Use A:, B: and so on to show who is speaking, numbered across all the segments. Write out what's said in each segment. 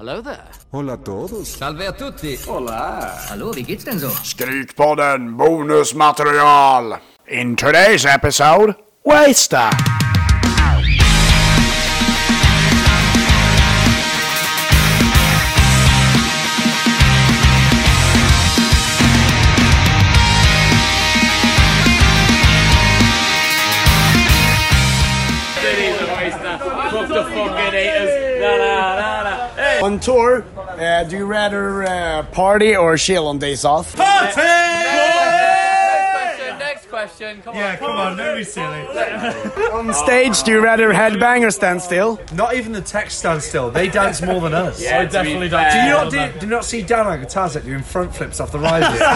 A: Hola a todos.
B: Salve a tutti!
C: Hola.
B: Hallo, wie geht's denn so?
D: Skrytpodden bonus material. In today's episode, Waster.
E: Fuck the fucking haters. La la la la. Hey,
F: On tour, uh, do you rather uh, party or chill on days off?
E: question, next question. Come on.
G: come on, don't be silly.
F: On stage, do you rather headbang or stand still?
G: Not even the tech stand still. They dance more than us.
E: I definitely
G: Do you not do, do you not see Dan Agatazic doing front flips off the riser? They're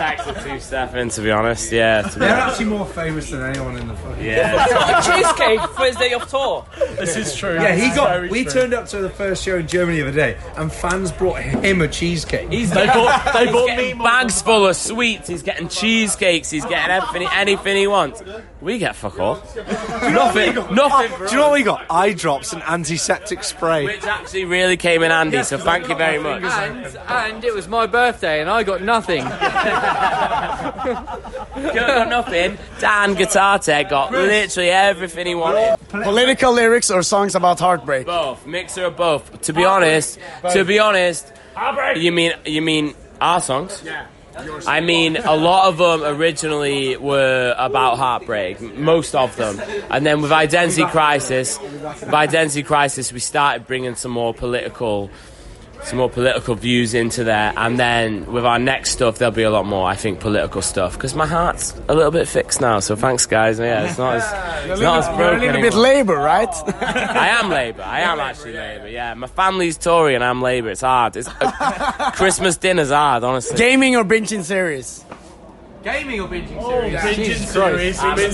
E: tax of two step in, to be honest. Yeah. To be
G: actually more famous than anyone in the fucking. Yeah,
H: cheesecake first day of tour.
E: this is true.
G: he got. We turned up to the first show in Germany the other day, and fans brought him a cheesecake.
H: He's
E: They bought, they bought me
H: getting
E: bags full of sweets. He's getting cheesecakes. He's getting everything, anything he wants. We get fuck all. nothing. Nothing.
G: Ah,
E: for us.
G: what we got? Eye drops and antiseptic spray.
E: Which actually really came in handy. so thank you very much.
B: And, and it was my birthday and I got nothing.
E: got nothing. Dan Guitar Tech got literally everything he wanted.
F: Political lyrics or songs about heartbreak?
E: Both mixer of both. To be honest, to be honest, you mean you mean our songs? Yeah. I mean, a lot of them originally were about heartbreak, m- most of them. And then with Identity Crisis, with Identity Crisis, we started bringing some more political, some more political views into there. And then with our next stuff, there'll be a lot more, I think, political stuff. Because my heart's a little bit fixed now, so thanks, guys. Yeah, it's not as, it's not as broken.
F: You're a little bit
E: anymore.
F: Labour, right?
E: I am Labour. I am actually Labour. Yeah, my family's Tory and I'm Labour. It's hard. It's uh, Christmas dinner's hard, honestly.
F: Gaming or binging series?
B: Gaming or binging series?
E: I'm, a, series, I'm, a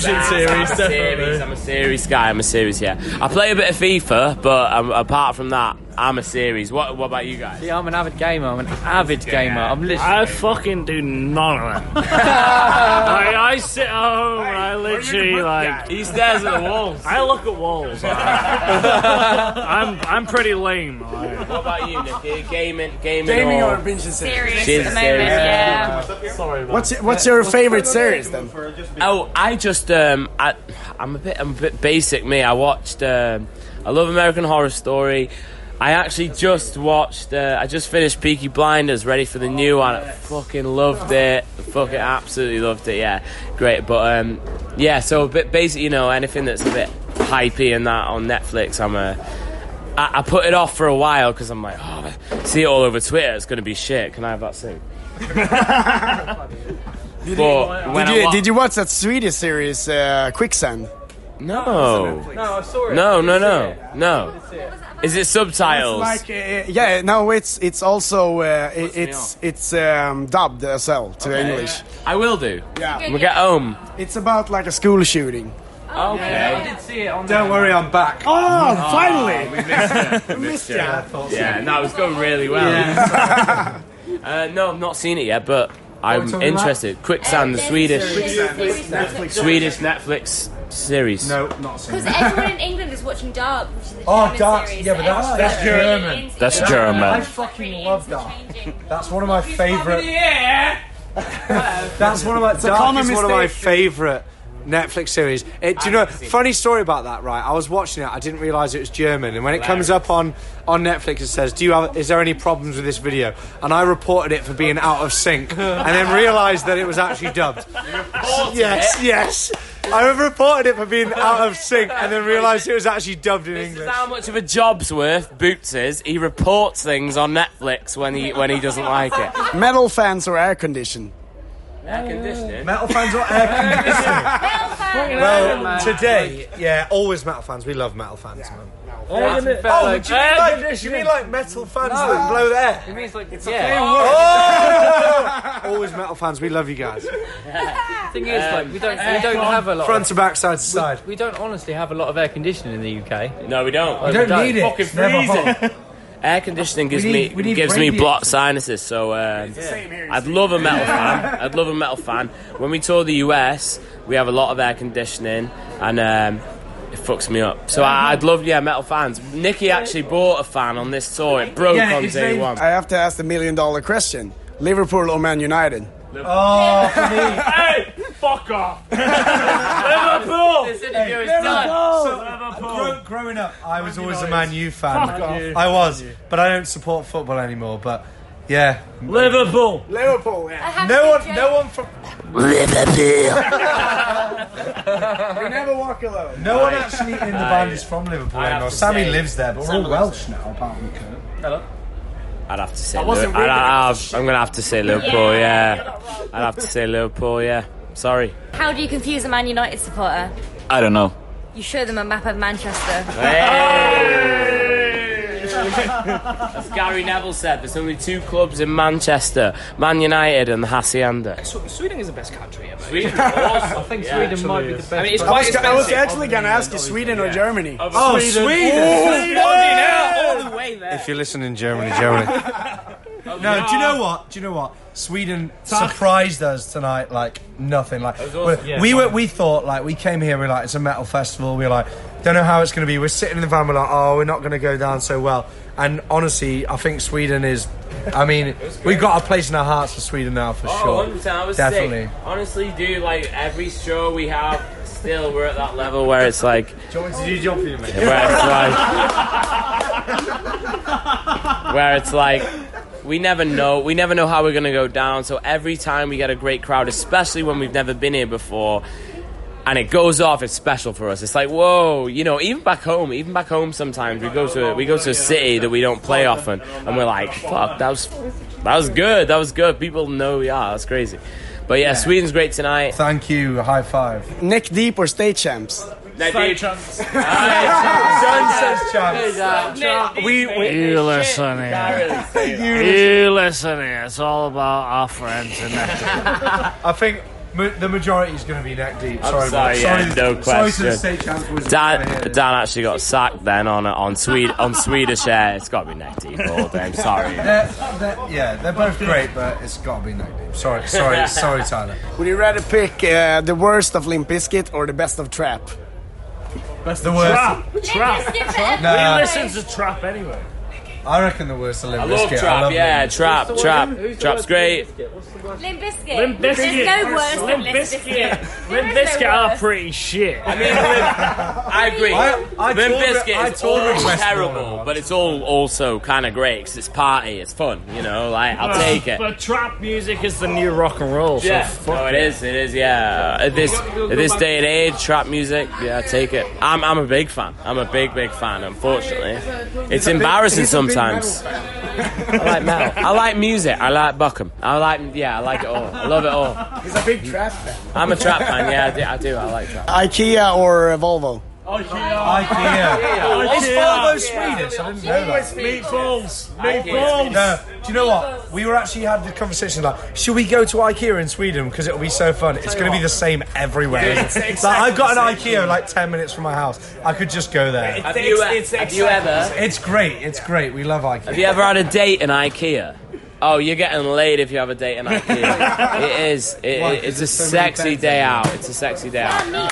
E: series, I'm a series guy. I'm a series. Yeah, I play a bit of FIFA, but um, apart from that, I'm a series. What What about you guys?
B: Yeah, I'm an avid gamer. I'm an avid gamer. I'm literally.
I: I fucking do none of that. I, I sit at home and I literally like
E: He stares at the walls.
I: I look at walls. I'm I'm pretty lame. like.
E: what about you, Nicky? Gaming, gaming,
F: Gaming or
E: or
F: binging series?
J: serious
E: She's
J: at the moment.
E: serious.
J: Yeah.
F: What's what's your favorite series then?
E: Oh, I just um, I, I'm a bit, I'm a bit basic. Me, I watched. Um, I love American Horror Story. I actually just watched. Uh, I just finished Peaky Blinders, ready for the new one. I fucking loved it. Fucking absolutely loved it. Yeah, great. But um, yeah, so a bit basic. You know, anything that's a bit hypey and that on Netflix, I'm a. I, I put it off for a while because I'm like, oh, I see it all over Twitter. It's gonna be shit. Can I have that soon? but when
F: Did
E: I
F: you,
E: wa-
F: did you watch that Swedish series uh, Quicksand?
E: no.
B: No, I saw it.
E: No, no, no,
B: That's
E: no. Is it subtitles?
F: Like, uh, yeah, no, it's it's also uh, it,
E: me
F: it's it's um, dubbed as well to English.
E: I will do.
F: Yeah.
E: We get home.
F: it's about like a school shooting.
B: I did see it on
G: Don't worry, I'm back. Ah,
F: Oh, finally!
E: Yeah, no, it's going really well. uh, no, I've not seen it yet, but I'm
G: talking about?
E: interested. Quicksand, the Swedish, Swedish Netflix series.
G: No, not so.
J: Because everyone in England is watching Dark, which is the
G: Oh,
J: German
G: Dark,
J: series.
G: yeah, but that's- that's German.
E: That's German.
G: I fucking love Dark. That's one of my favourite. That's one of my. Dark
F: common
G: is one of my
F: mistake.
G: favourite Netflix series. It, do you know? Funny story about that, right? I was watching it. I didn't realise it was German, and when it comes up on on Netflix, it says, "Do you have? Is there any problems with this video?" And I reported it for being out of sync, and then realised that it was actually dubbed. yes, yes. I reported it for being out of sync, and then realised it was actually dubbed in
E: This is
G: English.
E: how much of a job's worth Boots is. He reports things on Netflix when he when he doesn't like it.
F: Metal fans or air condition?
E: Air conditioning.
G: Metal fans or air
J: Well,
G: today, yeah, always metal fans. We love metal fans, man.
B: Oh,
G: Oh, do you mean like, do you mean like metal fans that blow there?
B: it means like, yeah.
G: Oh! Always metal fans, we love you guys.
B: The thing is, like, we don't, we don't have a lot.
G: Front
B: Of,
G: to back, side to side.
B: we don't honestly have a lot of air conditioning in the UK.
E: No, we don't.
B: We don't need
E: Fucking freezing. Air conditioning gives
G: We need- we
E: me
G: need
E: gives me
G: radiators.
E: blocked sinuses, so um, I'd love a metal fan. I'd love a metal fan. When we tour the US, we have a lot of air conditioning, and um, it fucks me up. So I, I'd love, yeah, metal fans. Nikki actually bought a fan on this tour. It broke
G: Yeah,
E: on
G: his
E: day
G: name-
E: one.
F: I have to ask the million dollar question Liverpool or Man United?
I: Hey, fuck off. Liverpool.
B: This interview is done.
I: Liverpool.
G: Grow, growing up, I was always a Man U fan. I was, but I don't support football anymore. But yeah,
I: Liverpool.
F: Liverpool, yeah.
J: I have
G: no
J: to
G: one,
J: say,
G: no one from,
F: You never walk alone.
G: no one actually in the band is from Liverpool anymore.
B: to
G: Sammy
B: say-
G: lives there, but we're all Welsh now. Apart from Kurt.
E: I'd have to say.
F: wasn't
E: Liver- I'd,
F: reading it,
E: I'd have, I'm gonna have to say Liverpool.
J: Yeah, you
E: Yeah,
J: got it wrong.
E: I'd have to say Liverpool. Yeah, sorry.
J: How do you confuse a Man United supporter?
E: I don't know.
J: You show them a map of Manchester.
E: As Gary Neville said, there's only two clubs in Manchester: Man United and the Hacienda.
H: Sw- Sweden is the best country ever.
B: I think Sweden might be the best.
H: I mean, it's
F: I
H: quite
F: was, I was
H: expensive.
F: actually going to ask you Sweden or Germany.
G: Oh, Sweden!
H: All the way there.
G: If you're listening, Germany, Germany. no, do you know what? Do you know what? Sweden surprised us tonight like nothing. Like we, we were, we thought like we came here. We're like it's a metal festival. We're like don't know how it's going to be. We're sitting in the van. We're like oh, we're not going to go down so well. And honestly, I think Sweden is. I mean, we've got a place in our hearts for Sweden now for
E: Oh,
G: sure.
E: 100%, I was
G: Definitely.
E: sick. Honestly, dude, like every show we have, still we're at that level where it's like, where it's like, where it's like, we never know. We never know how we're gonna go down. So every time we get a great crowd, especially when we've never been here before. And it goes off. It's special for us. It's like whoa, you know. Even back home, even back home, sometimes we go to we go to a city that we don't play often, and we're like, fuck, that was that was good. That was good. People know, yeah, that's crazy. But yeah, Sweden's great tonight.
G: Thank you. High five.
F: Neck deep or state champs?
G: We,
I: You listen here. You listen here. It's all about our friends and that.
G: I think ma- the majority is going to be neck deep.
E: I'm sorry, yeah, no
G: sorry to the
E: question.
G: state champions.
E: Dan, Dan actually got sacked then on on Swede on Swedish air. It's got to be neck deep all day. I'm sorry.
G: They're, they're, yeah, they're both great, but it's got to be neck deep. Sorry, sorry, sorry, Tyler.
F: Would you rather pick uh, the worst of Limp Bizkit or the best of Trap?
G: the worst.
I: Trap. Trap.
J: Interesting for everyone.
G: Nah.
I: He listens to trap anyway.
G: I reckon the worst of Limp
E: I love
G: Bizkit.
E: trap. Yeah,
G: Limp Bizkit.
E: trap, trap, trap's great.
J: Limp Bizkit.
I: Limp Bizkit.
J: There's no worse than
I: Limp
J: Limp
I: Bizkit.
J: Bizkit.
I: Limp
J: There is no
I: Bizkit are
J: worse.
I: pretty shit.
E: I mean, I agree.
G: I
E: Limp
G: told- I
E: Bizkit is
G: told
E: all
G: Westmore
E: terrible,
G: once.
E: but it's all also kind of great 'cause it's party, it's fun. You know, like I'll take it.
I: But trap music is the new rock and roll. So
E: Yeah,
I: fuck
E: no, it is. It is. Yeah, at this at this day and age, trap music. Yeah, take it. I'm I'm a big fan. I'm a big big fan. Unfortunately, it's embarrassing sometimes. I like metal. I like music. I like Buckham. I like yeah. I like it all. I love it all.
F: He's a big Trap fan.
E: I'm a trap fan. Yeah, I do. I, do. I like trap.
F: IKEA or uh, Volvo?
I: Oh,
G: IKEA.
I: it.
G: It's Volvo Swedish. I didn't know that.
I: Meatballs. Meatballs.
G: No, do you know what? We were actually had the conversation like, should we go to IKEA in Sweden because it'll be so fun? It's going to be the same everywhere. like, I've got an IKEA like ten minutes from my house. I could just go there.
E: Have you, uh, e-, have you ever?
G: It's great. It's great. We love IKEA.
E: Have you ever had a date in IKEA? Oh, you're getting laid if you have a date in IKEA. it is. It,
G: Why? 'Cause
E: it's a
G: there's so many
E: sexy
G: beds
E: day
G: in
E: out. It's a sexy day out.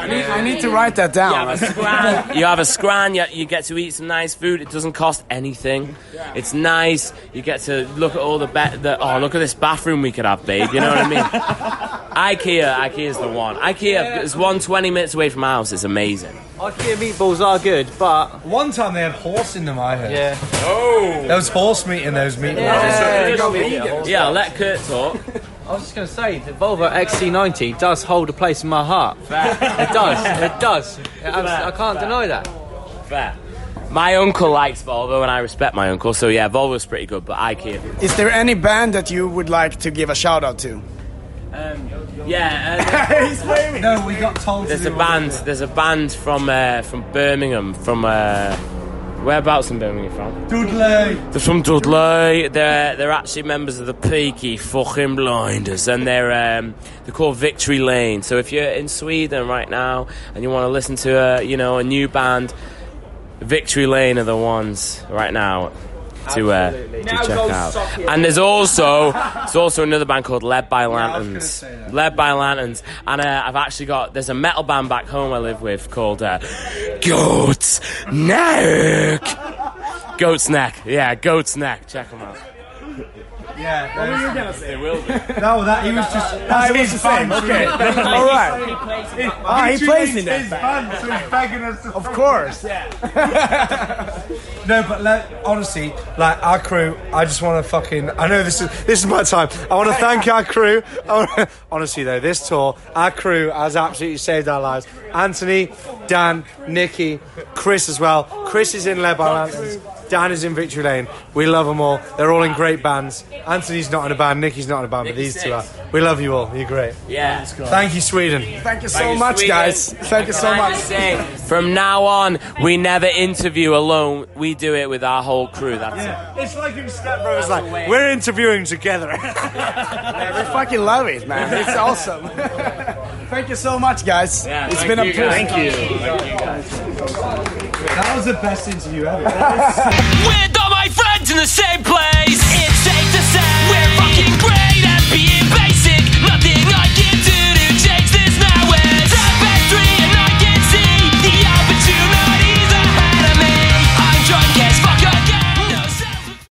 F: I need, I need to write that down.
E: You have a scran. You have a scran. You, you get to eat some nice food. It doesn't cost anything. It's nice. You get to look at all the, be- the oh look at this bathroom we could have, babe. You know what I mean? IKEA. IKEA's the one. IKEA is one 20 minutes away from my house. It's amazing.
H: IKEA meatballs are good, but
G: One time they had horse in them, I heard. Yeah. Oh. There was horse meat in those meatballs.
E: Yeah, I'll let Kurt talk.
B: I was just going to say the Volvo XC90 does hold a place in my heart. It does. It does. It abs- I can't deny that.
E: Fair. My uncle likes Volvo, and I respect my uncle. So yeah, Volvo's pretty good, but IKEA.
F: Is there any band that you would like to give a shout out to?
E: Um, Yeah. uh,
G: No, we got told.
E: There's a band. There's a band from uh, from Birmingham. From uh, whereabouts in Birmingham from?
G: Dudley.
E: They're from Dudley. They're they're actually members of the Peaky fucking Blinders, and they're um, they're called Victory Lane. So if you're in Sweden right now and you want to listen to a you know a new band, Victory Lane are the ones right now. to uh, to check out. And there's also there's also another band called Led by Lanterns. Led by Lanterns. And uh, I've actually got there's a metal band back home I live with called uh, Goat's Neck. Goat's Neck. Yeah, Goat's Neck. Check them out.
G: No, that he was just. That was the same. Okay.
F: All right. Ah, he plays in that. band.
G: so he's begging us to.
F: Of course.
G: No, but like, honestly, like our crew, I just want to fucking. I know this is this is my time. I want to thank our crew. I wanna- honestly, though, this tour, our crew has absolutely saved our lives. Anthony, Dan, Nikki, Chris as well. Chris is in Lebanon. Lanterns. Dan is in Victory Lane. We love them all. They're all in great bands. Anthony's not in a band. Nikki's not in a band, but these two are. We love you all. You're great.
E: Yeah.
G: Thank you, Sweden.
F: Thank you so
E: Thank you,
F: much,
E: Sweden.
F: guys. Thank you so
E: Can I
F: much.
E: just say, from now on, we never interview alone. We do it with our whole crew. That's it.
G: It's like in Step Brothers. Like we're interviewing together.
F: We fucking love it, man. It's awesome. Thank you so much, guys. it's been a pleasure.
G: that was the best interview ever.
E: With all my friends in the same place.